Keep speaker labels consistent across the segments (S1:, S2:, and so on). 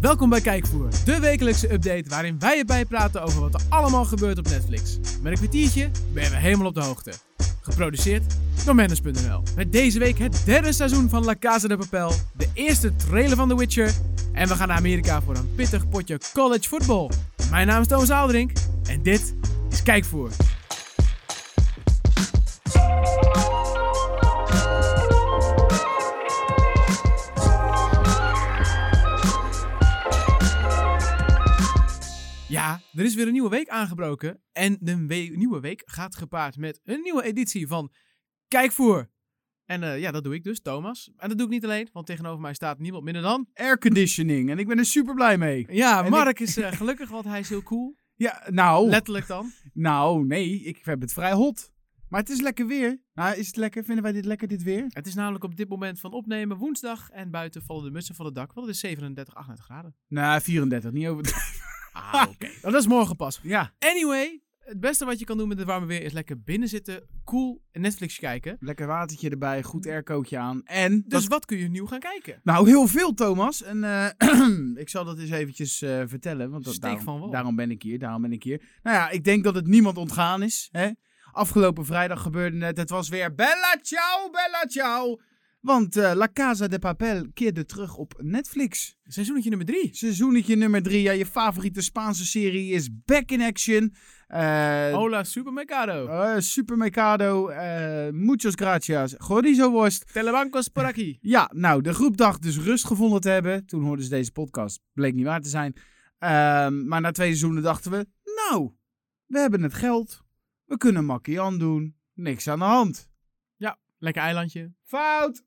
S1: Welkom bij Kijkvoer, de wekelijkse update waarin wij je bijpraten over wat er allemaal gebeurt op Netflix. Met een kwartiertje ben je weer helemaal op de hoogte. Geproduceerd door Manus.nl. Met deze week het derde seizoen van La Casa de Papel, de eerste trailer van The Witcher en we gaan naar Amerika voor een pittig potje college football. Mijn naam is Thomas Aaldrink en dit is Kijkvoer. Ja, er is weer een nieuwe week aangebroken. En de we- nieuwe week gaat gepaard met een nieuwe editie van Kijkvoer. En eh, ja, dat doe ik dus, Thomas. En dat doe ik niet alleen, want tegenover mij staat niemand minder dan.
S2: airconditioning. En ik ben er super blij mee.
S1: Ja,
S2: En
S1: Mark is eh, gelukkig, want hij is heel cool.
S2: Ja, nou,
S1: Letterlijk dan.
S2: nou, nee, ik heb het vrij hot. Maar het is lekker weer. Nou, is het lekker? Vinden wij dit lekker, dit weer?
S1: Het is namelijk op dit moment van opnemen woensdag. En buiten vallen de mussen van het dak, want het is 37, 38 graden.
S2: Nou, 34, niet over.
S1: Ah, oké. Nou, dat is morgen pas.
S2: ja,
S1: Anyway, het beste wat je kan doen met het warme weer is lekker binnen zitten, cool en Netflix kijken.
S2: lekker watertje erbij, goed aircootje aan. En,
S1: Dus
S2: dat-
S1: wat kun je nieuw gaan kijken?
S2: nou, heel veel, Thomas. En eh, ik zal dat eens eventjes eh, vertellen, want dat,
S1: Steek van wal.
S2: daarom, daarom ben ik hier, daarom ben ik hier. Nou ja, ik denk dat het niemand ontgaan is, hè? Afgelopen vrijdag gebeurde het, het was weer Bella Ciao, Bella Ciao. Want eh, La Casa de Papel keerde terug op Netflix.
S1: Seizoentje nummer 3.
S2: Seizoentje nummer drie. Ja, je favoriete Spaanse serie is Back in Action. Eh
S1: Hola Supermercado.
S2: eh, Super Mercado. eh, muchas gracias. Chorizo worst.
S1: Telebancos por aquí.
S2: Ja, nou, de groep dacht dus rust gevonden te hebben. Toen hoorden ze deze podcast. Bleek niet waar te zijn. Ehm, maar na twee seizoenen dachten we... Nou, we hebben het geld. We kunnen Makian doen. Niks aan de hand.
S1: Lekker eilandje.
S2: Fout!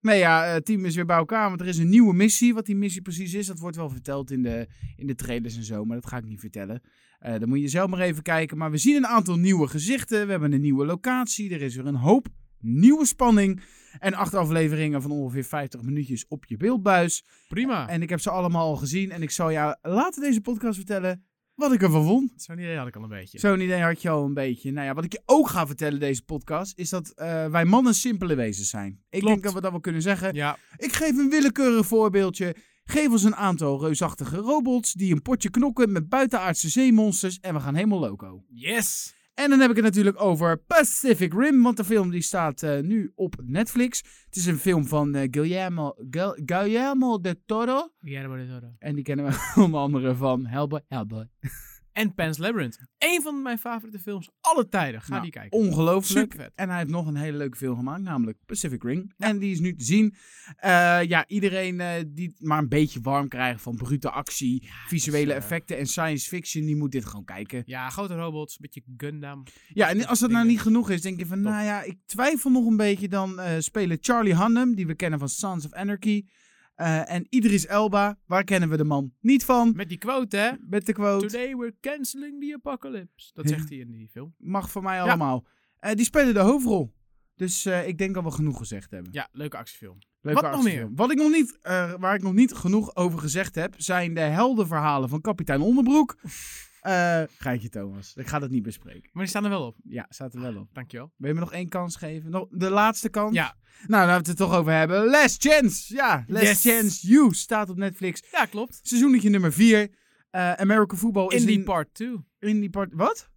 S2: Nee ja, het team is weer bij elkaar, want er is een nieuwe missie. Wat die missie precies is, dat wordt wel verteld in de, in de trailers en zo, maar dat ga ik niet vertellen. Eh dan moet je zelf maar even kijken. Maar we zien een aantal nieuwe gezichten, we hebben een nieuwe locatie, er is weer een hoop nieuwe spanning. En acht afleveringen van ongeveer 50 minuutjes op je beeldbuis.
S1: Prima.
S2: En ik heb ze allemaal al gezien en ik zal jou later deze podcast vertellen wat ik ervan vond.
S1: Zo'n idee had ik al een beetje.
S2: Zo'n idee had je al een beetje. Nou ja, wat ik je ook ga vertellen deze podcast, is dat eh, wij mannen simpele wezens zijn. Ik
S1: Klopt.
S2: denk dat we dat wel kunnen zeggen.
S1: Ja,
S2: Ik geef een willekeurig voorbeeldje. Geef ons een aantal reusachtige robots die een potje knokken met buitenaardse zeemonsters en we gaan helemaal loco.
S1: yes.
S2: En dan heb ik het natuurlijk over Pacific Rim, want de film die staat eh, nu op Netflix. Het is een film van eh, Guillermo, Gal- Guillermo de Toro.
S1: Guillermo del Toro.
S2: En die kennen we onder andere van Hellboy. Hellboy.
S1: En Pan's Labyrinth. Eén van mijn favoriete films alle tijden. Ga
S2: Nou,
S1: die kijken.
S2: Ongelooflijk.
S1: Supervet.
S2: En hij heeft nog een hele leuke film gemaakt, namelijk Pacific Ring. En die is nu te zien. Eh, ja, iedereen eh, die het maar een beetje warm krijgt van brute actie, visuele
S1: eh,
S2: effecten en science fiction, die moet dit gewoon kijken.
S1: Ja, grote robots, een beetje Gundam.
S2: Ja, en als dat nou
S1: dingen.
S2: niet genoeg is, denk je van,
S1: Top.
S2: nou ja, ik twijfel nog een beetje. Dan eh, spelen Charlie Hunnam, die we kennen van Sons of Anarchy. eh, en Idris Elba, waar kennen we de man niet van?
S1: Met die quote, hè?
S2: Met de quote.
S1: Today we're canceling the apocalypse. Dat
S2: Ja.
S1: zegt hij in die film.
S2: mag van mij
S1: Ja.
S2: allemaal. Eh, die spelen de hoofdrol. Dus eh, ik denk dat we genoeg gezegd hebben.
S1: Ja, leuke actiefilm.
S2: Leuke
S1: Wat nog
S2: actiefilm.
S1: meer?
S2: Wat ik nog niet, eh, waar ik nog niet genoeg over gezegd heb, zijn de heldenverhalen van kapitein Onderbroek. Eh geintje Thomas, ik ga dat niet bespreken.
S1: Maar die staan er wel op.
S2: Ja, staat er wel op.
S1: Dankjewel.
S2: Wil je me nog één kans geven? Nog de laatste kans?
S1: Ja.
S2: Nou, laten we het er toch over hebben. Last Chance! Ja,
S1: Yes.
S2: Last Chance You staat op Netflix.
S1: Ja, klopt.
S2: Seizoenetje nummer 4. Eh American Football is
S1: Indie
S2: in...
S1: Part 2.
S2: Indie part... Wat?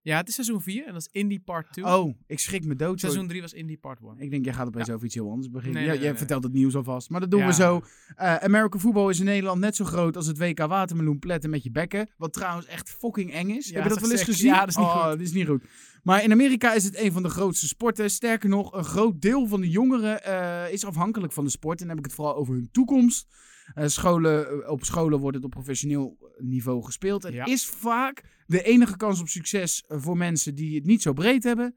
S1: Ja, het is seizoen 4 en dat is Indie Part 2.
S2: Oh, ik schrik me dood. sorry.
S1: Seizoen 3 was Indie Part 1.
S2: Ik denk, jij gaat opeens over iets heel anders beginnen.
S1: Nee,
S2: Ja,
S1: nee,
S2: jij
S1: nee, nee.
S2: vertelt het nieuws alvast. Maar dat doen
S1: Ja.
S2: we zo. Eh American Football is in Nederland net zo groot als het WK Watermeloen pletten met je bekken. Wat trouwens echt fucking eng is.
S1: Ja,
S2: Heb je dat
S1: dat is
S2: wel eens
S1: echt sick.
S2: gezien?
S1: Ja, dat is niet
S2: Oh,
S1: goed.
S2: dat is niet goed. Maar in Amerika is het een van de grootste sporten. Sterker nog, een groot deel van de jongeren eh, is afhankelijk van de sport. En dan heb ik het vooral over hun toekomst. Eh, scholen, eh, op scholen wordt het op professioneel niveau gespeeld. Het
S1: Ja.
S2: is vaak de enige kans op succes eh, voor mensen die het niet zo breed hebben.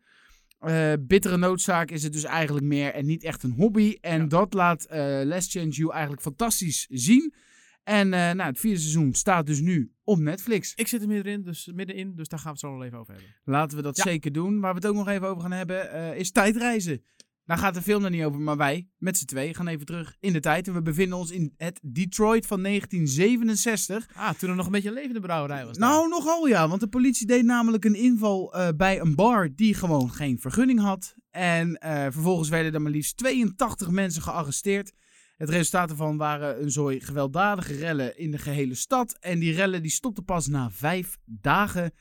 S2: Eh, bittere noodzaak is het dus eigenlijk meer en niet echt een hobby. En
S1: Ja.
S2: dat laat eh Last Chance You eigenlijk fantastisch zien. En eh, nou, het vierde seizoen staat dus nu op Netflix.
S1: Ik zit er middenin dus, middenin, dus daar gaan we het zo nog even over hebben.
S2: Laten we dat
S1: Ja.
S2: zeker doen. Waar we het ook nog even over gaan hebben eh, is tijdreizen. Daar gaat de film er niet over, maar wij met z'n twee gaan even terug in de tijd. En we bevinden ons in het Detroit van 1967.
S1: Ah, toen er nog een beetje een levende brouwerij was. daar.
S2: Nou, nogal ja, want de politie deed namelijk een inval eh, bij een bar die gewoon geen vergunning had. En eh, vervolgens werden er maar liefst 82 mensen gearresteerd. Het resultaat ervan waren een zooi gewelddadige rellen in de gehele stad. En die rellen die stopten pas na vijf dagen.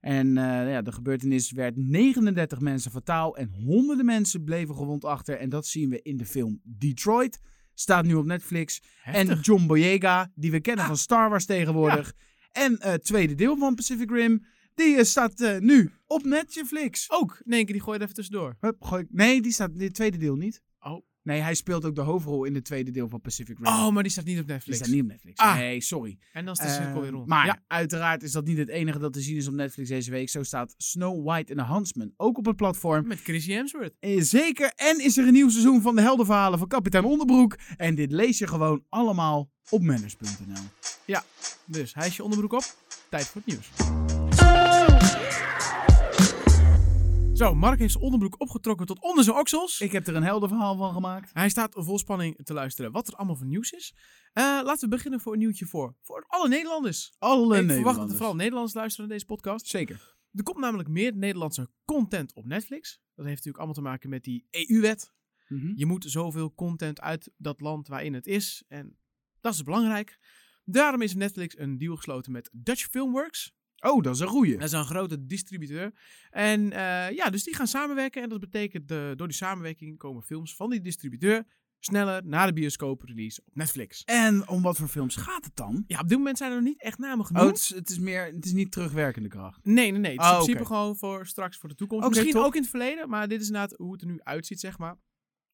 S2: En eh, ja, de gebeurtenis werd 39 mensen fataal en honderden mensen bleven gewond achter. En dat zien we in de film Detroit. Staat nu op Netflix. En
S1: Heftig. Ah.
S2: John Boyega, die we kennen van Star Wars tegenwoordig. En eh, het tweede deel van Pacific Rim. Die eh, staat eh, nu op Netflix.
S1: Ook, in één keer, die gooi je er even tussendoor.
S2: Hup, gooi ik- Nee, die staat in het tweede deel niet.
S1: Oh.
S2: Nee, hij speelt ook de hoofdrol in het tweede deel van Pacific Rim.
S1: Oh, maar die staat niet op
S2: die
S1: Netflix.
S2: staat niet op Netflix.
S1: Ah.
S2: Nee, sorry.
S1: En dan is de cirkel
S2: Eh,
S1: weer rond.
S2: Maar
S1: ja.
S2: uiteraard is dat niet het enige dat te zien is op Netflix deze week. Zo staat Snow White en de Huntsman ook op het platform.
S1: Met Chris Hemsworth.
S2: Eh, Zeker. En is er een nieuw seizoen van de heldenverhalen van Kapitein Onderbroek. En dit lees je gewoon allemaal op manners.nl.
S1: Dus, hijs je onderbroek op. Tijd voor het nieuws. Zo, Mark heeft zijn onderbroek opgetrokken tot onder zijn oksels.
S2: Ik heb er een heldenverhaal van gemaakt.
S1: Hij staat vol spanning te luisteren wat er allemaal voor nieuws is. Eh, laten we beginnen voor een nieuwtje voor, voor alle Nederlanders.
S2: Alle
S1: Ik verwacht dat er
S2: Nederlanders.
S1: vooral Nederlanders luisteren naar deze podcast.
S2: Zeker.
S1: Er komt namelijk meer Nederlandse content op Netflix. Dat heeft natuurlijk allemaal te maken met die E EU-wet.
S2: Mhm.
S1: Je moet zoveel content uit dat land waarin het is. En dat is belangrijk. Daarom is Netflix een deal gesloten met Dutch Filmworks.
S2: Oh, dat is een goeie.
S1: Dat is een grote distributeur. En eh, ja, dus die gaan samenwerken. En dat betekent, eh, door die samenwerking komen films van die distributeur sneller naar de bioscoop release op Netflix.
S2: En om wat voor films gaat het dan?
S1: Ja, op dit moment zijn er nog niet echt namen
S2: Oh,
S1: genoemd.
S2: het is, het is meer, het is niet terugwerkende kracht.
S1: Nee, nee, nee. Het is
S2: Oh,
S1: in principe
S2: oké.
S1: gewoon voor straks, voor de toekomst.
S2: Oké,
S1: Misschien
S2: top.
S1: ook in het verleden, maar dit is inderdaad hoe het er nu uitziet, zeg maar.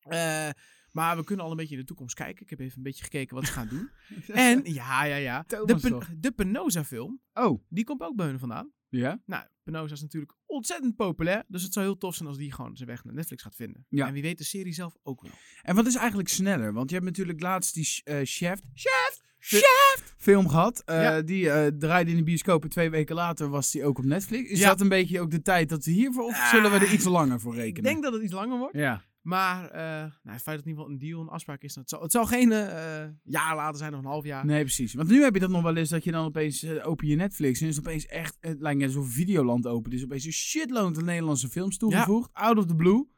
S1: Eh, maar we kunnen al een beetje in de toekomst kijken. Ik heb even een beetje gekeken wat ze gaan doen. en ja, ja, ja. De,
S2: Thomas
S1: Pen-
S2: toch?
S1: de Penosa-film,
S2: Oh,
S1: die komt ook bij hun vandaan.
S2: ja?
S1: Nou, Penosa is natuurlijk ontzettend populair. Dus het zou heel tof zijn als die gewoon zijn weg naar Netflix gaat vinden.
S2: Ja.
S1: En wie weet de serie zelf ook wel.
S2: En wat is eigenlijk sneller? Want je hebt natuurlijk laatst die eh Chef... Chef!
S1: Chef!
S2: Film gehad. Eh,
S1: Ja.
S2: Die eh, draaide in de bioscoop en twee weken later was die ook op Netflix. Is
S1: Ja.
S2: dat een beetje ook de tijd dat we hiervoor... Of zullen we er iets langer voor
S1: Ik
S2: rekenen?
S1: denk dat het iets langer wordt.
S2: Ja.
S1: Maar eh, nou, het feit dat het in ieder geval een deal, een afspraak is. Het zal, het zal geen eh, eh, jaar later zijn of een half jaar.
S2: Nee, precies. Want nu heb je dat nog wel eens dat je dan opeens eh, open je Netflix en is het opeens echt, het lijkt net alsof Videoland open is. Opeens een shitload aan Nederlandse films toegevoegd, out of the blue.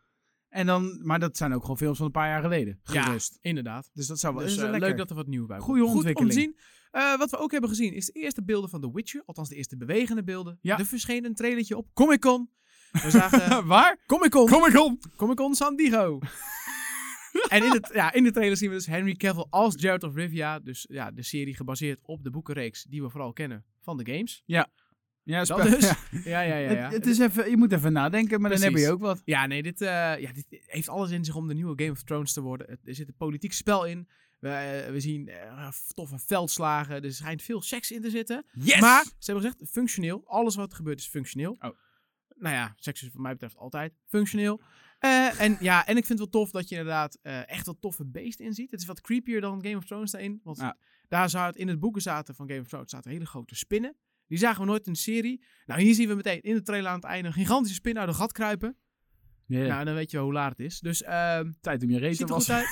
S2: En dan, maar dat zijn ook gewoon films van een paar jaar geleden. Gerust.
S1: Ja, inderdaad.
S2: Dus dat zou wel
S1: Dus
S2: is wel
S1: eh,
S2: lekker.
S1: leuk dat er wat nieuw bij komt.
S2: Goeie ontwikkeling.
S1: Goed om te zien. Eh, wat we ook hebben gezien is de eerste beelden van The Witcher. Althans de eerste bewegende beelden.
S2: Ja.
S1: Er verscheen een trailertje op Comic Con. We zagen
S2: Waar?
S1: Comic Con.
S2: Kom ik om!
S1: Comic Con San Diego. en in, het, ja, in de trailer zien we dus Henry Cavill als Jared of Rivia. Dus ja, de serie gebaseerd op de boekenreeks die we vooral kennen van de games.
S2: Ja,
S1: Dat
S2: spe-
S1: dus.
S2: ja.
S1: Ja, ja, ja. ja.
S2: Het, het is even, je moet even nadenken, maar dan
S1: Precies.
S2: heb je ook wat.
S1: Ja, nee, dit, eh, ja, dit heeft alles in zich om de nieuwe Game of Thrones te worden. Het- Er zit een politiek spel in. We, eh, we zien eh, toffe veldslagen. Er schijnt veel seks in te zitten.
S2: Yes!
S1: Maar ze hebben gezegd, functioneel. Alles wat er gebeurt is functioneel.
S2: Oh.
S1: Nou ja, seks is wat mij betreft altijd functioneel. Eh, en ja, en ik vind het wel tof dat je inderdaad eh, echt wat toffe beesten in ziet. Het is wat creepier dan Game of Thrones daarin. Want
S2: Ja.
S1: daar zou het in het boeken zaten van Game of Thrones zaten hele grote spinnen. Die zagen we nooit in de serie. Nou, hier zien we meteen in de trailer aan het einde een gigantische spin uit een gat kruipen.
S2: Ja,
S1: Nou, dan weet je wel hoe laat het is. Dus ehm
S2: tijd om je reet
S1: ziet
S2: te
S1: er goed
S2: wassen.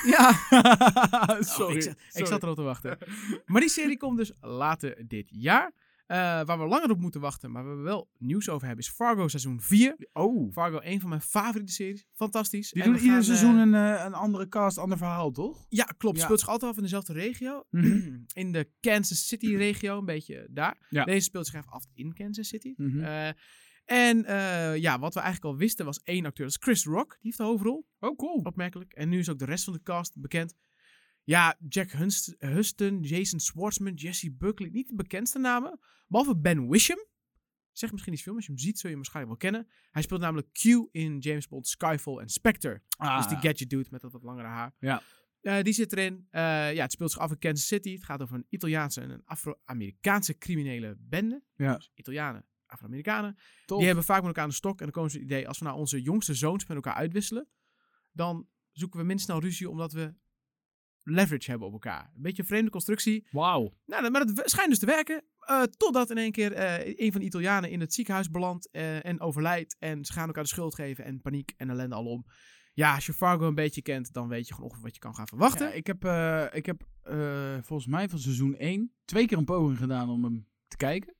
S1: uit. Ja,
S2: Sorry.
S1: Oh, ik, zat, ik zat erop te wachten. maar die serie komt dus later dit jaar. Eh, waar we langer op moeten wachten, maar waar we wel nieuws over hebben, is Fargo seizoen 4.
S2: Oh.
S1: Fargo, een van mijn favoriete series. Fantastisch.
S2: Die
S1: En
S2: doen
S1: we
S2: ieder
S1: gaan, eh,
S2: seizoen een, eh, een andere cast, ander verhaal, toch?
S1: ja, klopt.
S2: Ja. Mhm.
S1: Speelt zich altijd af in dezelfde regio. in de Kansas City regio, een beetje daar.
S2: Ja.
S1: Deze speelt zich even af in Kansas City.
S2: Mhm.
S1: Eh, en eh, ja, wat we eigenlijk al wisten was één acteur. Dat is Chris Rock. Die heeft de hoofdrol.
S2: Oh, cool.
S1: opmerkelijk. En nu is ook de rest van de cast bekend. Ja, Jack Hunst- Huston, Jason Schwartzman, Jesse Buckley. Niet de bekendste namen. Behalve Ben Wisham. Zeg misschien iets film. Als je hem ziet, zul je hem waarschijnlijk wel kennen. Hij speelt namelijk Q in James Bond, Skyfall en Spectre. Dus die gadget dude met dat wat langere haar.
S2: Ah, Ja.
S1: Eh, die zit erin. Eh, ja, het speelt zich af in Kansas City. Het gaat over een Italiaanse en een Afro-Amerikaanse criminele bende.
S2: Ja.
S1: Dus Italianen, Afro-Amerikanen.
S2: Top.
S1: Die hebben vaak met elkaar aan de stok. En dan komen ze het idee, als we nou onze jongste zoons met elkaar uitwisselen, dan zoeken we minst snel ruzie omdat we leverage hebben op elkaar. Een beetje een vreemde constructie.
S2: Wauw.
S1: Nou, dat- maar dat schijnt dus te werken. eh, totdat in één keer eh, een van de Italianen in het ziekenhuis belandt eh, en overlijdt. En ze gaan elkaar de schuld geven en paniek en ellende alom. Ja, als je Fargo een beetje kent, dan weet je gewoon ongeveer wat je kan gaan verwachten.
S2: Ja, ik heb, eh, ik heb eh, volgens mij van seizoen 1 twee keer een poging gedaan om hem te kijken.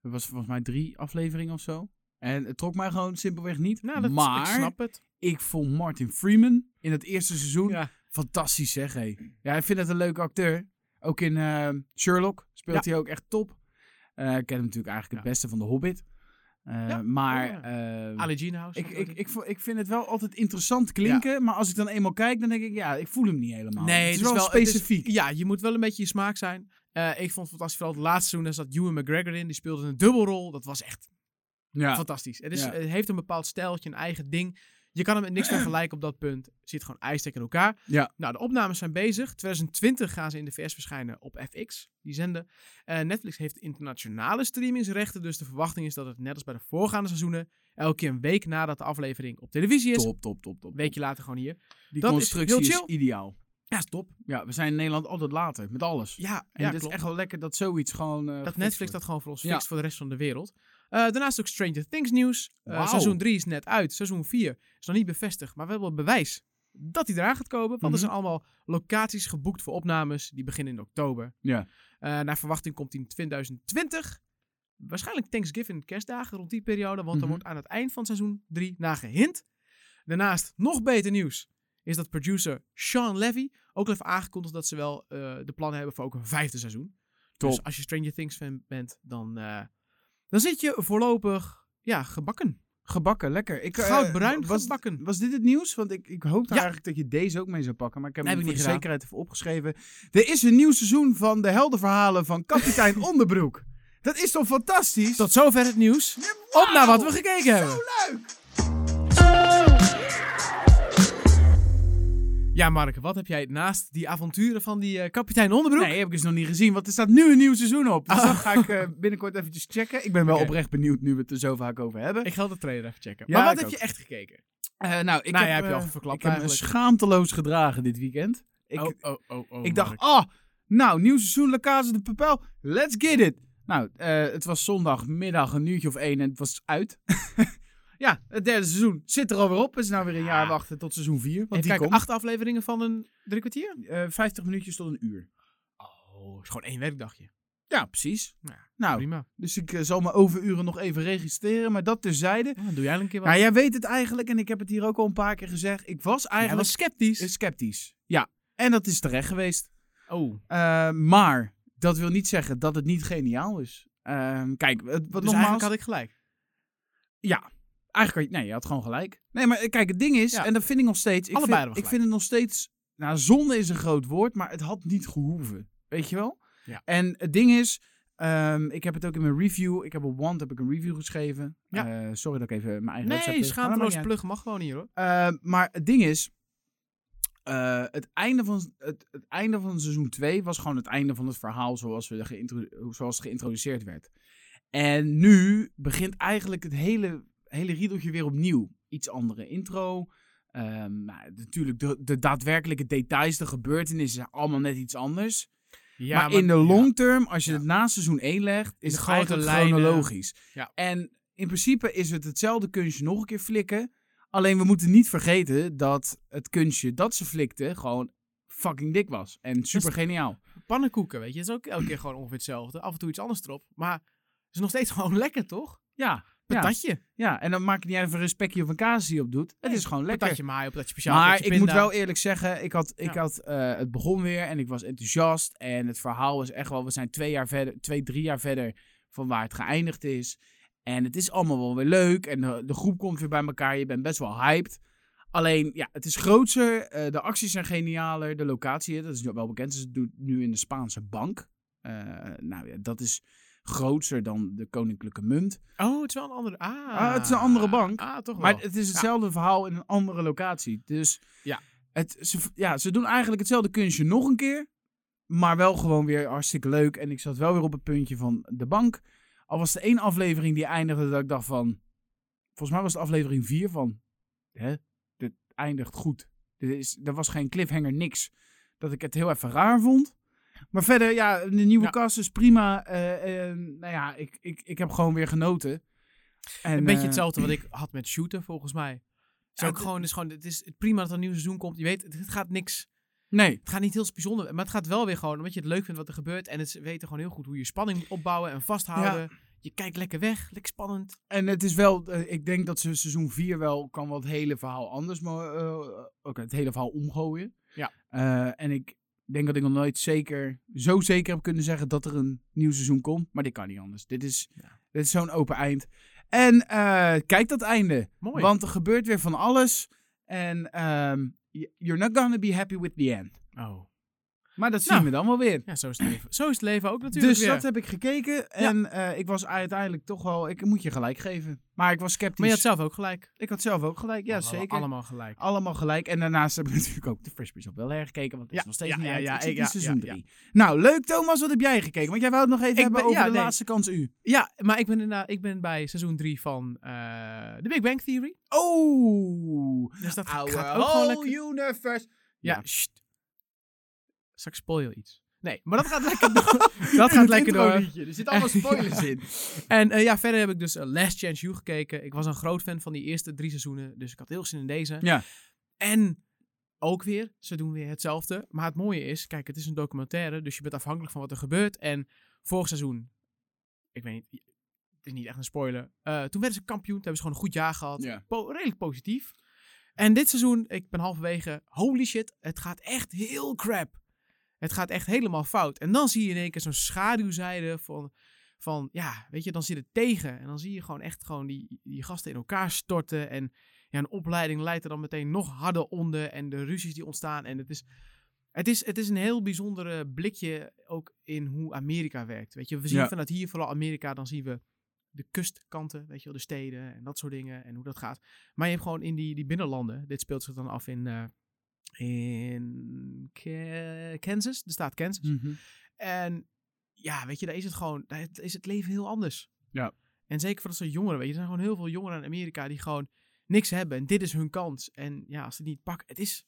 S2: Dat was volgens mij drie afleveringen of zo. En het trok mij gewoon simpelweg niet.
S1: nou, dat,
S2: maar
S1: ik snap het.
S2: ik vond Martin Freeman in het eerste seizoen
S1: Ja.
S2: Fantastisch zeg, hé. Ja, ik vind het een leuke acteur. Ook in eh, Sherlock speelt hij ook echt top. Eh, ik ken hem natuurlijk eigenlijk
S1: Ja.
S2: het beste van de Hobbit. Eh,
S1: Ja, Oh,
S2: Maar
S1: ja.
S2: eh,
S1: Ali Geenhouse.
S2: ik,
S1: of
S2: ik,
S1: wat-
S2: ik, vo- ik vind het wel altijd interessant klinken. Maar als ik dan eenmaal kijk, dan denk ik, ja, ik voel hem niet helemaal.
S1: Nee,
S2: Nou, het is wel,
S1: het is-
S2: specifiek.
S1: ja, je moet wel een beetje je smaak zijn. Eh, ik vond het fantastisch. Vooral het laatste seizoen, daar zat Ewan McGregor in. Die speelde een dubbelrol. Dat was echt
S2: ja.
S1: fantastisch. Het, is,
S2: Ja.
S1: het heeft een bepaald stijltje, een eigen ding. Je kan hem met niks vergelijken op dat punt. Zit gewoon ijstek in elkaar.
S2: Ja.
S1: Nou, de opnames zijn bezig. 2020 gaan ze in de VS verschijnen op FX, die zenden. Eh, Netflix heeft internationale streamingsrechten. Dus de verwachting is dat het net als bij de voorgaande seizoenen... elke keer een week nadat de aflevering op televisie is...
S2: Top, top, top, top.
S1: Een weekje later gewoon hier.
S2: Die
S1: dat is
S2: constructie
S1: heel
S2: is,
S1: chill.
S2: ideaal.
S1: Ja, is top.
S2: Ja, we zijn in Nederland altijd later, met alles.
S1: Ja,
S2: En
S1: ja
S2: het
S1: klopt.
S2: is echt wel lekker dat zoiets gewoon... eh,
S1: dat
S2: gefixt
S1: Netflix
S2: wordt.
S1: dat gewoon voor ons
S2: Ja.
S1: fixt voor de rest van de wereld. Eh, daarnaast ook Stranger Things nieuws. Eh,
S2: Wauw.
S1: seizoen 3 is net uit. Seizoen 4 is nog niet bevestigd. Maar we hebben wel bewijs dat hij eraan gaat komen. Want
S2: Mhm.
S1: er zijn allemaal locaties geboekt voor opnames. Die beginnen in oktober.
S2: Ja.
S1: Eh, naar verwachting komt hij in 2020. Waarschijnlijk Thanksgiving, kerstdagen rond die periode. Want
S2: Mhm.
S1: dan wordt aan het eind van seizoen 3 nagehint. Daarnaast nog beter nieuws is dat producer Sean Levy ook al heeft aangekondigd dat ze wel eh, de plannen hebben voor ook een vijfde seizoen.
S2: Top.
S1: Dus als je Stranger Things fan bent, dan, eh, dan zit je voorlopig ja, gebakken.
S2: Gebakken, lekker. Ik, eh,
S1: Goudbruin
S2: was, Mm,
S1: gebakken.
S2: was dit het nieuws? Want ik, ik hoopte
S1: Ja.
S2: eigenlijk dat je deze ook mee zou pakken. Maar ik heb
S1: Nee,
S2: hem
S1: heb ik
S2: voor de
S1: niet
S2: zekerheid even opgeschreven. Er is een nieuw seizoen van de heldenverhalen van kapitein Onderbroek. Dat is toch fantastisch?
S1: Tot zover het nieuws.
S2: Wauw!
S1: Op naar wat we gekeken hebben.
S2: leuk!
S1: Ja, Mark, wat heb jij naast die avonturen van die eh, kapitein Onderbroek?
S2: Nee, heb ik dus nog niet gezien, want er staat nu een nieuw seizoen op. Dus
S1: Ah.
S2: dat ga ik eh, binnenkort eventjes checken. Ik ben wel
S1: Oké.
S2: oprecht benieuwd nu we het er zo vaak over hebben.
S1: Ik ga de trailer even checken.
S2: Ja,
S1: maar wat
S2: ik
S1: heb
S2: ook.
S1: je echt gekeken?
S2: Eh, nou, ik
S1: Nou
S2: heb,
S1: ja, heb je
S2: eh,
S1: al verklapt
S2: Ik heb me
S1: eigenlijk.
S2: schaamteloos gedragen dit weekend. Ik,
S1: oh, oh, oh,
S2: ik dacht, ah, nou, nieuw seizoen, La Casa de Papel, let's get it. Nou, eh, het was zondagmiddag, een uurtje of één en het was uit. ja, het derde seizoen zit er alweer op. Het is nou weer een jaar
S1: Ja.
S2: wachten tot seizoen vier, want
S1: Want
S2: die
S1: kijk,
S2: komt.
S1: acht afleveringen van een drie kwartier?
S2: eh, 50 minuutjes tot een uur.
S1: Oh, is gewoon één werkdagje.
S2: Ja, precies.
S1: Ja,
S2: nou,
S1: Prima.
S2: dus ik eh, zal mijn overuren nog even registreren, maar dat terzijde.
S1: Nou, dan doe jij een keer wat.
S2: Nou, jij weet het eigenlijk en ik heb het hier ook al een paar keer gezegd. Ik was
S1: Jij
S2: eigenlijk eh,
S1: was sceptisch.
S2: sceptisch. Ja, en dat is terecht geweest.
S1: oh,
S2: Eh, maar dat wil niet zeggen dat het niet geniaal is. Ehm, kijk, het- wat
S1: dus
S2: nogmaals...
S1: eigenlijk had ik gelijk.
S2: Ja, eigenlijk had je... Nee, je had gewoon gelijk. Nee, maar eh, kijk, het ding is,
S1: Ja.
S2: en dat vind ik nog steeds... Ik
S1: Allebei hebben
S2: vind,
S1: we
S2: ik vind het nog steeds... Nou, zonde is een groot woord, maar het had niet gehoeven. Weet je wel?
S1: Ja.
S2: En het ding is, ehm, ik heb het ook in mijn review... Ik heb op Want heb ik een review geschreven.
S1: Ja.
S2: Eh, sorry dat ik even mijn eigen website
S1: Nee,
S2: tegen- maar dat
S1: schaamteloos
S2: maakt niet uit.
S1: plug mag gewoon hier hoor.
S2: Eh, maar het ding is, eh, het, einde van, het, het einde van seizoen 2 was gewoon het einde van het verhaal zoals, we geïntro- zoals het geïntroduceerd werd. En nu begint eigenlijk het hele, hele riedeltje weer opnieuw. Iets andere intro. ehm, nou, natuurlijk, de, de daadwerkelijke details, de gebeurtenissen zijn allemaal net iets anders.
S1: Ja,
S2: maar, in de long term, als je
S1: Ja.
S2: het na seizoen 1 legt, is
S1: de
S2: het
S1: grote
S2: eigenlijk
S1: lijnen.
S2: chronologisch.
S1: Ja.
S2: En in principe is het hetzelfde kunstje nog een keer flikken. Alleen we moeten niet vergeten dat het kunstje dat ze flikte gewoon fucking dik was. En super geniaal.
S1: pannenkoeken, weet je. Het is ook elke keer gewoon ongeveer hetzelfde. Af en toe iets anders erop. Maar het is nog steeds gewoon lekker, toch?
S2: Ja, ja,
S1: Patatje.
S2: ja, en dan maakt het niet uit of er een spekje of een kaas die je op doet. Het
S1: Nee,
S2: is gewoon lekker.
S1: Patatje maai, patatje speciaal.
S2: Maar
S1: patatje
S2: ik moet
S1: pinda.
S2: wel eerlijk zeggen, ik had, ik
S1: Ja.
S2: had, eh, het begon weer en ik was enthousiast. En het verhaal was echt wel, we zijn twee, jaar verder, twee drie jaar verder van waar het geëindigd is. En het is allemaal wel weer leuk en de, de groep komt weer bij elkaar. Je bent best wel hyped. Alleen, ja, het is groter, eh, de acties zijn genialer, de locatie, dat is nu wel bekend. Ze doen het nu in de Spaanse bank. Eh, nou ja, dat is groter dan de Koninklijke Munt.
S1: Oh, het is wel een andere... Ah,
S2: Ah, het is een andere bank.
S1: Ah, toch
S2: Maar
S1: wel.
S2: het is hetzelfde verhaal in een andere locatie. Dus
S1: Ja.
S2: Het, ze, ja, ze doen eigenlijk hetzelfde kunstje nog een keer. Maar wel gewoon weer hartstikke leuk. En ik zat wel weer op het puntje van de bank. Al was er één aflevering die eindigde dat ik dacht van... Volgens mij was het aflevering 4 van... Hè? Dit eindigt goed. Dit is, er was geen cliffhanger, niks. Dat ik het heel even raar vond. Maar verder, ja, de nieuwe
S1: Ja.
S2: kast is prima. Eh, eh, nou ja, ik, ik, ik heb gewoon weer genoten. En,
S1: Een beetje
S2: eh,
S1: hetzelfde wat ik had met shooten, volgens mij. Het is
S2: Ja,
S1: ook
S2: het-
S1: gewoon, het is gewoon... Het is prima dat er een nieuw seizoen komt. Je weet, het, het gaat niks...
S2: Nee,
S1: Het gaat niet heel bijzonder, maar het gaat wel weer gewoon omdat je het leuk vindt wat er gebeurt. En het weten gewoon heel goed hoe je spanning moet opbouwen en vasthouden. Je kijkt lekker weg, lekker spannend.
S2: En het is wel, eh, ik denk dat ze seizoen 4 wel kan wat eh, hele verhaal anders, maar eh, ook het hele verhaal omgooien. Ja. Eh, en ik denk dat ik nog nooit zeker, zo zeker heb kunnen zeggen dat er een nieuw seizoen komt. Maar dit kan niet anders. Dit is,
S1: Ja.
S2: dit is zo'n open eind. En eh, kijk dat einde.
S1: Mooi.
S2: Want er gebeurt weer van alles. En ehm, y- you're not gonna be happy with the end.
S1: Oh.
S2: Maar dat zien
S1: Nou.
S2: we dan wel weer.
S1: Ja, zo is het leven. Zo is het leven ook natuurlijk
S2: dus
S1: weer.
S2: dat heb ik gekeken. En eh, ik was uiteindelijk toch wel... Ik moet je gelijk geven. Maar ik was sceptisch.
S1: Maar je had zelf ook gelijk.
S2: Ik had zelf ook gelijk. Ja,
S1: We hadden
S2: zeker.
S1: dus- Allemaal gelijk.
S2: Allemaal gelijk. En daarnaast hebben we natuurlijk ook de Fresh Prince of Bel-Air gekeken. Want het
S1: Ja,
S2: is nog steeds
S1: ja,
S2: niet
S1: ja,
S2: uit.
S1: ja,
S2: Ik zit
S1: ik-
S2: in
S1: ja,
S2: seizoen
S1: ja, ja.
S2: 3. Nou, leuk Thomas. Wat heb jij gekeken? Want jij wou het nog even
S1: Ik
S2: hebben
S1: ben-
S2: over
S1: ja,
S2: de
S1: nee.
S2: laatste kans u.
S1: Ja, maar ik ben, inderdaad- ik ben bij seizoen 3 van eh The Big Bang Theory.
S2: Oh.
S1: Dus dat
S2: Our
S1: gaat ook gewoon lekker.
S2: whole universe.
S1: Ja,
S2: Ja.
S1: sst. Straks spoil je iets. Nee, maar dat gaat lekker door. dat gaat
S2: het
S1: lekker door.
S2: introliedje. Er zitten allemaal spoilers in.
S1: En eh, ja, verder heb ik dus eh, Last Chance You gekeken. Ik was een groot fan van die eerste drie seizoenen, dus ik had heel zin in deze.
S2: Ja.
S1: En ook weer, ze doen weer hetzelfde. Maar het mooie is, kijk, het is een documentaire, dus je bent afhankelijk van wat er gebeurt. En vorig seizoen, ik weet niet, het is niet echt een spoiler. eh, toen werden ze kampioen, toen hebben ze gewoon een goed jaar gehad.
S2: Ja.
S1: Po- redelijk positief. En dit seizoen, ik ben halverwege, holy shit, het gaat echt heel crap. Het gaat echt helemaal fout. En dan zie je in één keer zo'n schaduwzijde van, van, ja, weet je, dan zit het tegen. En dan zie je gewoon echt gewoon die, die gasten in elkaar storten. En ja, een opleiding leidt er dan meteen nog harder onder. En de ruzies die ontstaan. En het is, het is, het is een heel bijzondere blikje ook in hoe Amerika werkt. Weet je, we zien
S2: Ja.
S1: vanuit hier vooral Amerika, dan zien we de kustkanten, weet je wel, de steden en dat soort dingen en hoe dat gaat. Maar je hebt gewoon in die, die binnenlanden, dit speelt zich dan af in, eh, in Ke- Kansas, de staat Kansas.
S2: Hmm. Mhm.
S1: En ja, weet je, daar is het gewoon, daar is het leven heel anders.
S2: Ja.
S1: En zeker voor dat soort jongeren, weet je, er zijn gewoon heel veel jongeren in Amerika die gewoon niks hebben en dit is hun kans. En ja, als ze het niet pakken, het is,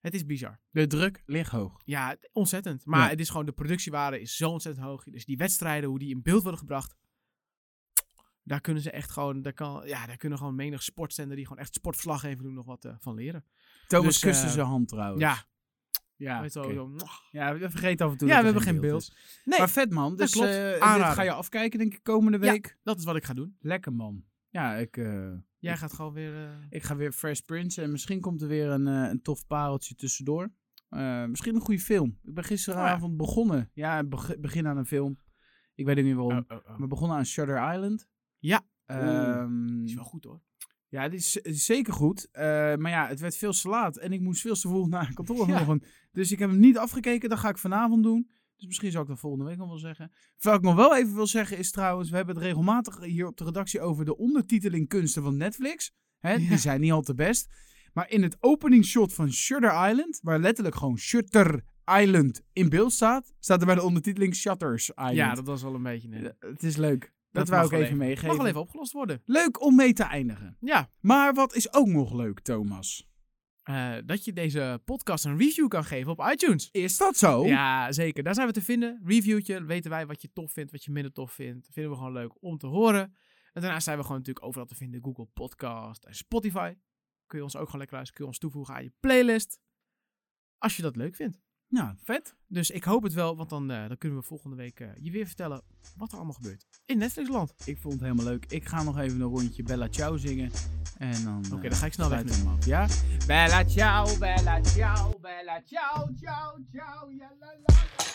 S1: het is bizar.
S2: De druk ligt hoog.
S1: Ja, het- ontzettend. Maar
S2: Ja.
S1: het is gewoon, de productiewaarde is zo ontzettend hoog. Dus die wedstrijden, hoe die in beeld worden gebracht, daar kunnen ze echt gewoon, daar, kan, ja, daar kunnen gewoon menig sportzender die gewoon echt sportverslag even doen, nog wat eh, van leren.
S2: Thomas
S1: Dus,
S2: kuste
S1: eh,
S2: zijn hand trouwens.
S1: ja,
S2: Ja,
S1: weet je wel,
S2: oké.
S1: zo, mwah.
S2: ja, we vergeten af en toe
S1: Ja,
S2: dat
S1: we
S2: er
S1: hebben geen beeld.
S2: is.
S1: Nee,
S2: Maar vet man, dus
S1: klopt.
S2: eh, dit
S1: Aanrader.
S2: ga je afkijken denk ik komende
S1: Ja.
S2: week.
S1: dat is wat ik ga doen.
S2: Lekker man. Ja, ik, eh,
S1: Jij
S2: Ik-
S1: gaat gewoon weer... eh,
S2: ik ga weer Fresh Prince en misschien komt er weer een, eh, een tof pareltje tussendoor. Eh, misschien een goede film.
S1: Oh
S2: Ik ben gisteravond begonnen. Ja, beg- begin aan een film. Ik weet ook niet waarom.
S1: oh,
S2: We begonnen aan Shutter Island.
S1: Ja.
S2: Ehm,
S1: Die is wel goed hoor.
S2: ja, die is, die is zeker goed. Eh, maar ja, het werd veel te laat. En ik moest veel te vroeg naar kantoor
S1: Ja.
S2: vanochtend. Dus ik heb hem niet afgekeken. Dat ga ik vanavond doen. Dus misschien zou ik dat volgende week nog wel zeggen. Wat ik nog wel even wil zeggen is trouwens... We hebben het regelmatig hier op de redactie over de ondertiteling kunsten van Netflix. Hè,
S1: Ja.
S2: Die zijn niet al te best. Maar in het openingsshot van Shutter Island... Waar letterlijk gewoon Shutter Island in beeld staat... Staat er bij de ondertiteling Shutters Island.
S1: Ja, dat was wel een beetje... een-
S2: Eh, Het is leuk. Dat,
S1: Dat
S2: wou
S1: mag
S2: ik
S1: wel
S2: even,
S1: even.
S2: meegeven.
S1: Mag wel even opgelost worden.
S2: Leuk om mee te eindigen.
S1: Ja,
S2: Maar wat is ook nog leuk, Thomas?
S1: eh, dat je deze podcast een review kan geven op iTunes.
S2: Is dat zo?
S1: Ja, zeker. Daar zijn we te vinden. Reviewtje, weten wij wat je tof vindt, wat je minder tof vindt. Vinden we gewoon leuk om te horen. En daarnaast zijn we gewoon natuurlijk overal te vinden. Google Podcast en Spotify. Kun je ons ook gewoon lekker luisteren. Kun je ons toevoegen aan je playlist. Als je dat leuk vindt.
S2: Nou, vet.
S1: Dus ik hoop het wel, want dan, eh, dan kunnen we volgende week eh, je weer vertellen wat er allemaal gebeurt. In Netflixland. Oké,
S2: Ik vond het helemaal leuk. Ik ga nog even een rondje Bella Ciao zingen. En dan... Oké,
S1: dan ga ik snel weg nu.
S2: hem af, ja? Bella Ciao, Bella Ciao, Bella Ciao, Ciao, Ciao, ja, la, la.